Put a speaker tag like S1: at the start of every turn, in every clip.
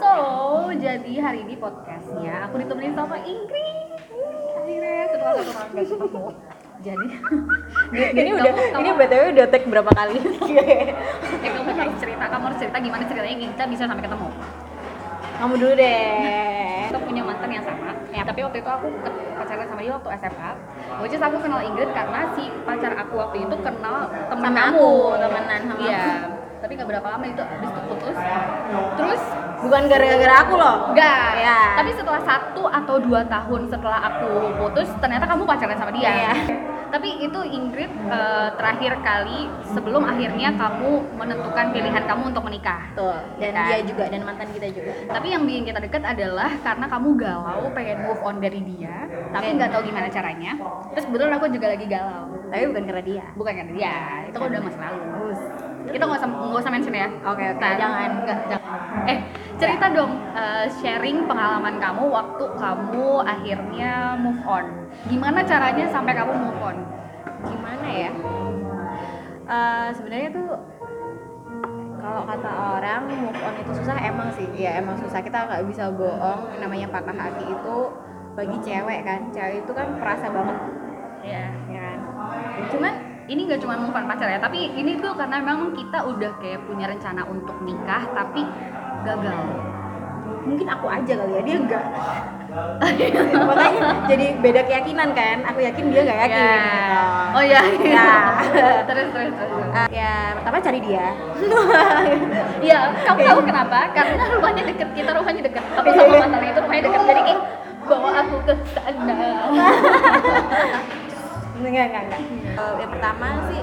S1: So, jadi hari ini podcastnya aku ditemenin sama Ingrid. Wih, Akhirnya setelah satu tahun gak ketemu. Jadi, kan?
S2: ini udah ini btw udah Iya. tag berapa kali
S1: eh, kamu harus cerita, kamu harus cerita gimana ceritanya kita bisa sampai ketemu.
S2: kamu dulu deh
S1: Kita punya mantan yang sama,
S2: Ya.
S1: tapi waktu itu aku ket- pacaran sama dia waktu SMA. Which is aku kenal Ingrid karena si pacar aku waktu itu kenal temen
S2: Sama
S1: kamu.
S2: aku, temenan sama
S1: Iya.
S2: aku.
S1: Tapi gak berapa lama itu habis itu putus. Terus
S2: bukan gara-gara aku loh
S1: Enggak.
S2: ya
S1: Tapi setelah satu atau dua tahun setelah aku putus, ternyata kamu pacaran sama dia.
S2: Iya.
S1: Tapi itu Ingrid eh, terakhir kali sebelum akhirnya kamu menentukan pilihan kamu untuk menikah.
S2: betul Iya dan
S1: Kan?
S2: dia juga dan mantan kita juga
S1: Tapi yang bikin kita deket adalah karena kamu galau, pengen move on dari dia, tapi nggak tahu gimana caranya. Terus kebetulan aku juga lagi galau,
S2: tapi bukan karena dia
S1: bukan karena dia, itu kan udah masa lalu.
S2: Bagus.
S1: Kita nggak usah nggak usah mention ya.
S2: oke oke
S1: Tar.
S2: jangan
S1: Enggak, jangan. Eh, cerita dong eh, sharing pengalaman kamu waktu kamu akhirnya move on. Gimana caranya sampai kamu move on?
S2: gimana ya Eh, sebenarnya tuh kalau kata orang move on itu susah emang sih ya emang susah kita nggak bisa bohong namanya patah hati itu bagi cewek kan cewek itu kan perasa banget
S1: Iya.
S2: ya kan
S1: Cuman ini nggak cuma move on pacar ya, tapi ini tuh karena memang kita udah kayak punya rencana untuk nikah tapi gagal.
S2: mungkin aku aja kali ya dia enggak makanya jadi beda keyakinan kan aku yakin dia nggak yakin
S1: Ya.
S2: gitu.
S1: Oh iya. iya.
S2: Ya.
S1: terus terus terus.
S2: Eh, ya pertama cari dia
S1: Iya, kamu tahu kenapa? Karena rumahnya deket, kita rumahnya deket. Aku sama
S2: Iya.
S1: mantan itu rumahnya deket, jadi kayak bawa aku ke sana.
S2: Oh, enggak enggak enggak Eh, yang pertama sih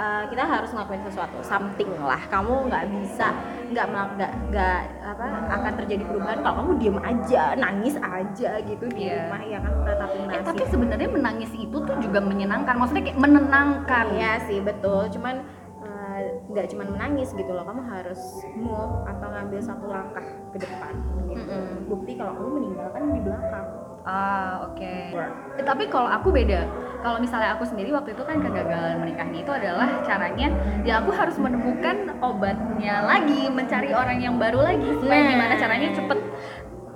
S2: eh, kita harus ngelakuin sesuatu something lah kamu nggak bisa nggak melak- nggak nggak apa akan terjadi perubahan kalau kamu diem aja nangis aja gitu di
S1: Iya.
S2: rumah ya kan meratapi
S1: Eh,
S2: nasib
S1: tapi sebenarnya menangis itu tuh juga menyenangkan. Maksudnya kayak menenangkan.
S2: Iya sih betul, cuman eh, nggak cuman menangis gitu loh, kamu harus move atau ngambil satu langkah ke depan. Gitu.
S1: Mm-mm.
S2: Bukti kalau kamu meninggalkan di belakang.
S1: Ah, oke. Eh, Tapi kalau aku beda. Kalau misalnya aku sendiri waktu itu kan kegagalan menikahnya itu adalah caranya ya aku harus menemukan obatnya lagi, mencari orang yang baru lagi supaya
S2: Nah.
S1: gimana caranya cepet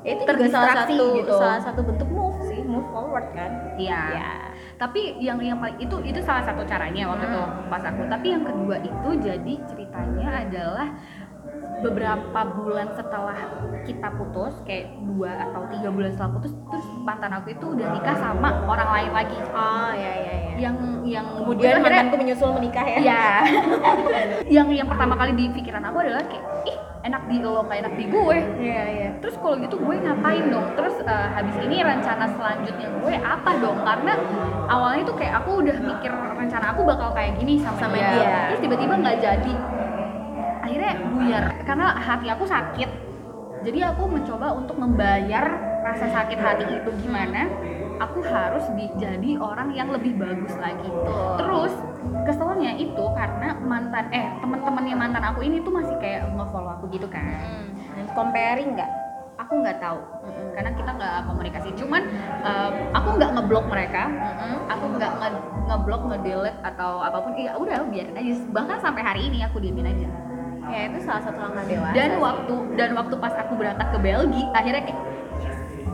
S2: Itu juga salah
S1: terdistraksi
S2: satu
S1: gitu.
S2: salah satu bentuk move sih, move forward kan.
S1: Iya. Tapi yang yang paling itu itu salah satu caranya waktu itu pas aku. Tapi yang kedua itu jadi ceritanya adalah beberapa bulan setelah kita putus kayak dua atau tiga bulan setelah putus terus mantan aku itu udah nikah sama orang lain lagi
S2: Oh ya ya ya.
S1: yang yang
S2: Kemudian
S1: akhirnya-
S2: mantanku menyusul menikah ya.
S1: Iya. yang yang pertama kali di pikiran aku adalah kayak ih enak di lo nggak enak di gue
S2: Iya iya.
S1: terus kalau gitu gue ngapain dong terus eh, habis ini rencana selanjutnya gue apa dong karena awalnya tuh kayak aku udah mikir rencana aku bakal kayak gini sama,
S2: Sama dia.
S1: terus tiba-tiba nggak jadi akhirnya buyar karena hati aku sakit jadi aku mencoba untuk membayar rasa sakit hati itu gimana aku harus di- jadi orang yang lebih bagus lagi terus keselnya itu karena mantan eh teman-temannya mantan aku ini tuh masih kayak nge-follow aku gitu kan
S2: Hmm. Comparing nggak? Kan.
S1: aku nggak tahu karena kita nggak komunikasi cuman um, aku nggak ngeblok mereka aku nggak nge- ngeblok ngedelete atau apapun ya udah biarin aja bahkan sampai hari ini aku diamin aja
S2: Ya itu salah satu langkah dewasa.
S1: dan
S2: sih.
S1: waktu dan waktu pas aku berangkat ke Belgia akhirnya kayak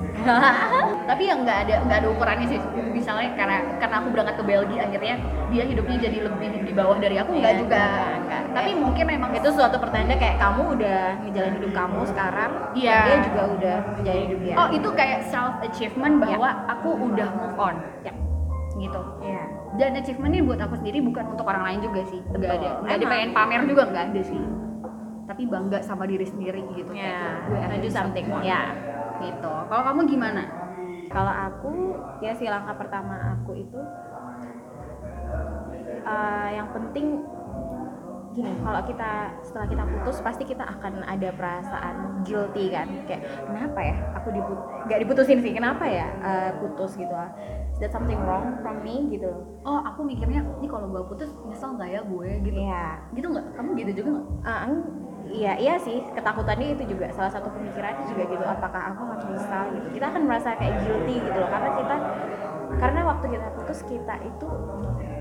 S1: tapi yang nggak ada nggak ada ukurannya sih misalnya karena karena aku berangkat ke Belgia akhirnya dia hidupnya jadi lebih di bawah dari aku nggak
S2: Iya,
S1: juga
S2: nggak, nggak.
S1: tapi mungkin memang
S2: itu suatu pertanda kayak kamu udah ngejalanin hidup kamu sekarang
S1: Iya.
S2: dan dia juga udah ngejalanin hidup dia
S1: oh itu kayak self achievement bahwa
S2: Iya.
S1: aku udah move on
S2: Yap.
S1: gitu
S2: Iya.
S1: dan achievement ini buat aku sendiri bukan untuk orang lain juga sih nggak ada nggak ada
S2: Emang.
S1: pengen pamer juga nggak ada sih tapi bangga sama diri sendiri gitu
S2: Ya,
S1: Kayak,
S2: gue
S1: akhirnya
S2: do something.
S1: bisa move on.
S2: Ya.
S1: gitu kalau kamu gimana
S2: Kalau aku, ya sih langkah pertama aku itu eh, yang penting gini, kalau kita setelah kita putus pasti kita akan ada perasaan guilty kan, kayak kenapa ya aku diput nggak diputusin sih, kenapa ya eh, putus gitu lah. Is that something wrong from me gitu?
S1: oh aku mikirnya ini kalau gue putus nyesel nggak ya gue gitu
S2: Iya.
S1: gitu nggak kamu gitu juga nggak
S2: Ah, eng- iya iya sih ketakutannya itu juga salah satu pemikirannya juga gitu apakah aku harus menyesal gitu kita akan merasa kayak guilty gitu loh karena kita karena waktu kita putus kita itu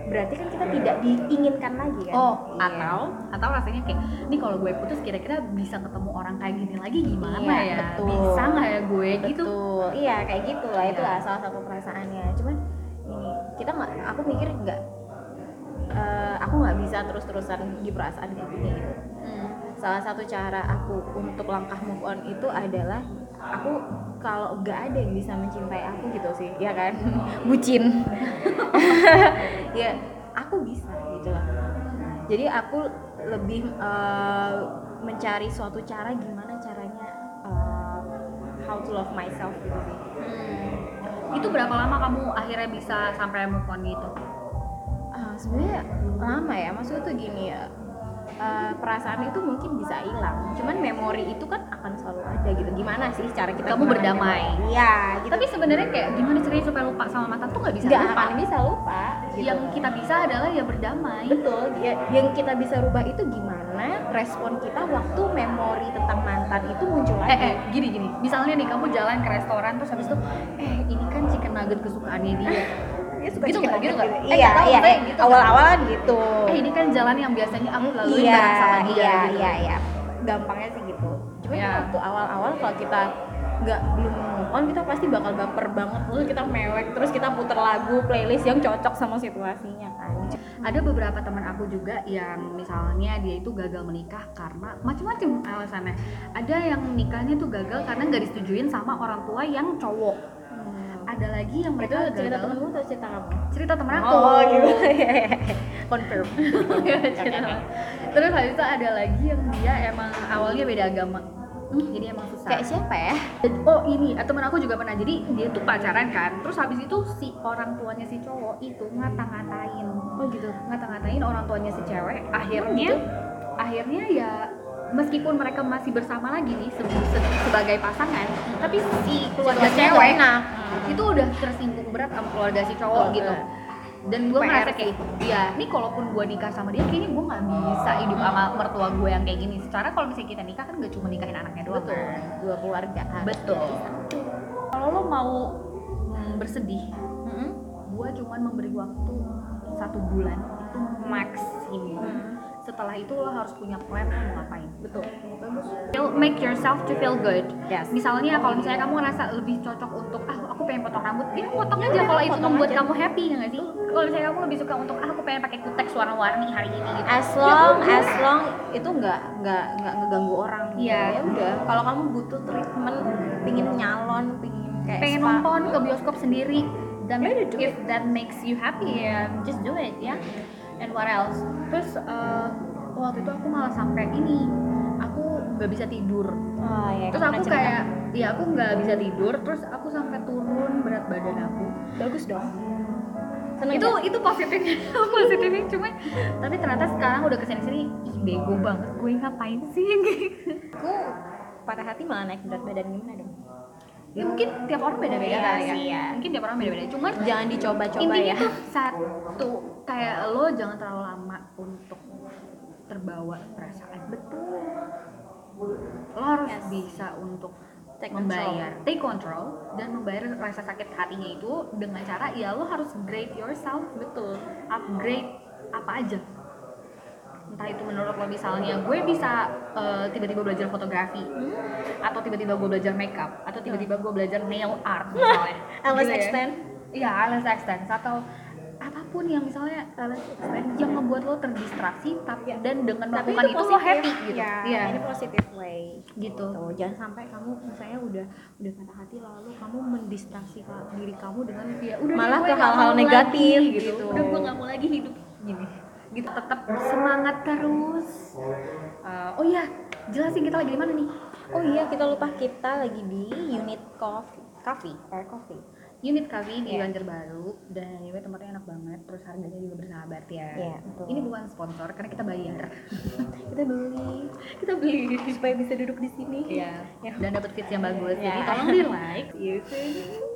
S2: berarti kan kita tidak diinginkan lagi kan
S1: Oh,
S2: Iya.
S1: atau atau rasanya kayak, ini kalau gue putus kira-kira bisa ketemu orang kayak gini lagi gimana
S2: Iya,
S1: ya?
S2: betul.
S1: Bisa nggak ya gue gitu?
S2: Betul. Iya, kayak gitu lah.
S1: Iya.
S2: Itulah salah satu perasaannya. Cuman ini kita nggak aku mikir nggak eh, aku nggak bisa terus-terusan di perasaan kayak gini gitu.
S1: Hmm.
S2: Salah satu cara aku untuk langkah move on itu adalah aku kalau nggak ada yang bisa mencintai aku gitu sih, ya kan? Bucin. ya, aku bisa gitu loh. Jadi aku lebih eh, mencari suatu cara gimana caranya eh, how to love myself gitu sih.
S1: Hmm. Itu berapa lama kamu akhirnya bisa sampai move on gitu?
S2: Ah, sebenarnya lama ya maksudnya tuh gini ya eh, perasaan itu mungkin bisa hilang cuman memori itu kan akan selalu ada gitu gimana sih cara kita
S1: Kamu
S2: mengenang
S1: berdamai.
S2: memori? iya gitu
S1: Tapi sebenarnya kayak gimana caranya supaya lupa sama mantan tuh nggak bisa
S2: nggak
S1: lupa.
S2: akan bisa lupa gitu.
S1: Yang kita bisa adalah ya berdamai.
S2: betul ya- yang kita bisa rubah itu gimana respon kita waktu memori tentang mantan itu muncul
S1: Eh, eh,
S2: lagi
S1: gini gini. Misalnya nih kamu jalan ke restoran terus habis itu, eh ini kan chicken nugget kesukaannya dia.
S2: Dia suka
S1: gitu
S2: chicken
S1: nggak, gitu
S2: nugget
S1: nggak?
S2: gitu.
S1: Eh,
S2: iya
S1: nggak tahu,
S2: iya
S1: kayak gitu.
S2: awal-awalan gitu
S1: eh ini kan jalan yang biasanya aku laluin
S2: iya,
S1: bareng sama dia.
S2: iya,
S1: gitu.
S2: iya, iya. Gampangnya sih gitu. Cuma
S1: Iya.
S2: waktu awal-awal kalau kita nggak belum move on kita pasti bakal baper banget terus kita mewek terus kita puter lagu playlist yang cocok sama situasinya kan.
S1: Ada beberapa teman aku juga yang misalnya dia itu gagal menikah karena macam-macam alasannya. Ada yang nikahnya tuh gagal karena nggak disetujuin sama orang tua yang cowok. Ada lagi yang
S2: Itu
S1: mereka
S2: cerita
S1: Hmm. gagal-
S2: temenmu atau cerita kamu?
S1: cerita temen aku
S2: Oh, gitu. Confirm.
S1: Iya, terus habis itu ada lagi yang dia emang awalnya beda agama Hmm, jadi emang susah
S2: Kayak siapa ya?
S1: Dan- oh ini eh, temen aku juga pernah jadi dia tuh pacaran kan terus habis itu si orang tuanya si cowok itu ngata-ngatain
S2: Oh gitu.
S1: ngata-ngatain orang tuanya si cewek akhirnya akhirnya ya meskipun mereka masih bersama lagi nih se- se- sebagai pasangan tapi si keluarga
S2: Situasinya nggak
S1: cewek Nah.
S2: enak.
S1: itu udah tersinggung berat sama keluarga si cowok
S2: Betul,
S1: gitu
S2: betul.
S1: dan gue
S2: PR
S1: merasa
S2: sih.
S1: kayak ya ini kalaupun gue nikah sama dia kayaknya gue nggak bisa hidup sama mertua gue yang kayak gini secara kalau misalnya kita nikah kan gak cuma nikahin anaknya doang
S2: Betul.
S1: kan?
S2: Dua keluarga.
S1: betul kalau lo mau mm, bersedih
S2: Mm-mm.
S1: gue cuman memberi waktu satu bulan itu maksimum setelah itu lo harus punya plan lo mau ngapain
S2: Hmm. Betul. Bagus.
S1: Feel- make yourself to feel good
S2: Yes.
S1: misalnya kalau misalnya kamu ngerasa lebih cocok untuk ah aku pengen potong rambut ya potong
S2: Ya
S1: aja
S2: udah,
S1: kalau itu
S2: potong
S1: membuat
S2: aja.
S1: kamu happy ya nggak sih kalau misalnya kamu lebih suka untuk ah aku pengen pakai kutek warna-warni hari ini gitu
S2: as
S1: Ya
S2: long
S1: udah.
S2: as long itu nggak nggak nggak ngeganggu orang gitu.
S1: Iya.
S2: ya udah kalau kamu butuh treatment pingin nyalon pingin kayak
S1: pengen
S2: spa,
S1: nonton ke bioskop sendiri dan
S2: Ya udah, do
S1: if that makes you happy ya just do it ya and what else terus eh, waktu itu aku malah sampai ini aku nggak bisa tidur
S2: oh, ya,
S1: terus
S2: karena
S1: aku
S2: cerita.
S1: kayak ya aku nggak bisa tidur terus aku sampai turun berat badan aku
S2: bagus dong seneng
S1: itu itu positifnya positifnya cuman tapi ternyata sekarang udah kesini sini ih bego banget gue ngapain sih
S2: aku patah hati malah naik berat badan gimana dong
S1: ya mungkin tiap orang beda beda
S2: Iya
S1: kali ya
S2: sih, ya.
S1: mungkin tiap orang beda beda cuman
S2: jangan dicoba-coba
S1: intinya
S2: ya
S1: tuh satu kayak lo jangan terlalu lama untuk terbawa perasaan
S2: betul
S1: lo harus
S2: Yes.
S1: bisa untuk
S2: Take
S1: membayar take control dan membayar rasa sakit hatinya itu dengan cara ya lo harus grade yourself betul upgrade apa aja entah itu menurut lo misalnya gue bisa eh, tiba-tiba belajar fotografi atau tiba-tiba gue belajar makeup atau
S2: Iya.
S1: tiba-tiba gue belajar nail art misalnya
S2: Alice
S1: Gitu ya.
S2: extend.
S1: iya Alice extend atau apapun yang misalnya Alice extend yang ngebuat lo terdistraksi
S2: Iya.
S1: tapi dan dengan melakukan itu, lo happy gitu
S2: ya,
S1: Iya.
S2: ini positif way
S1: gitu
S2: Tuh, jangan sampai kamu misalnya udah udah patah hati lalu kamu mendistraksi ka- diri kamu dengan
S1: Ya, udah
S2: Malah
S1: deh,
S2: ke
S1: gue nggak
S2: hal-hal
S1: mau
S2: negatif,
S1: lagi,
S2: gitu.
S1: udah gue nggak mau lagi hidup gini gitu tetap semangat terus Eh, oh iya jelasin kita lagi di mana nih
S2: Oh iya, kita lupa kita lagi di unit coffee, coffee, or coffee.
S1: unit kami di
S2: Iya.
S1: Banjarbaru dan anyway tempatnya enak banget terus harganya juga bersahabat ya
S2: Iya, betul.
S1: ini bukan sponsor karena kita bayar
S2: Kita beli
S1: kita beli
S2: supaya bisa duduk di sini. Ya
S1: Iya. dan dapat fits yang bagus jadi
S2: Iya.
S1: tolong di like
S2: See you soon.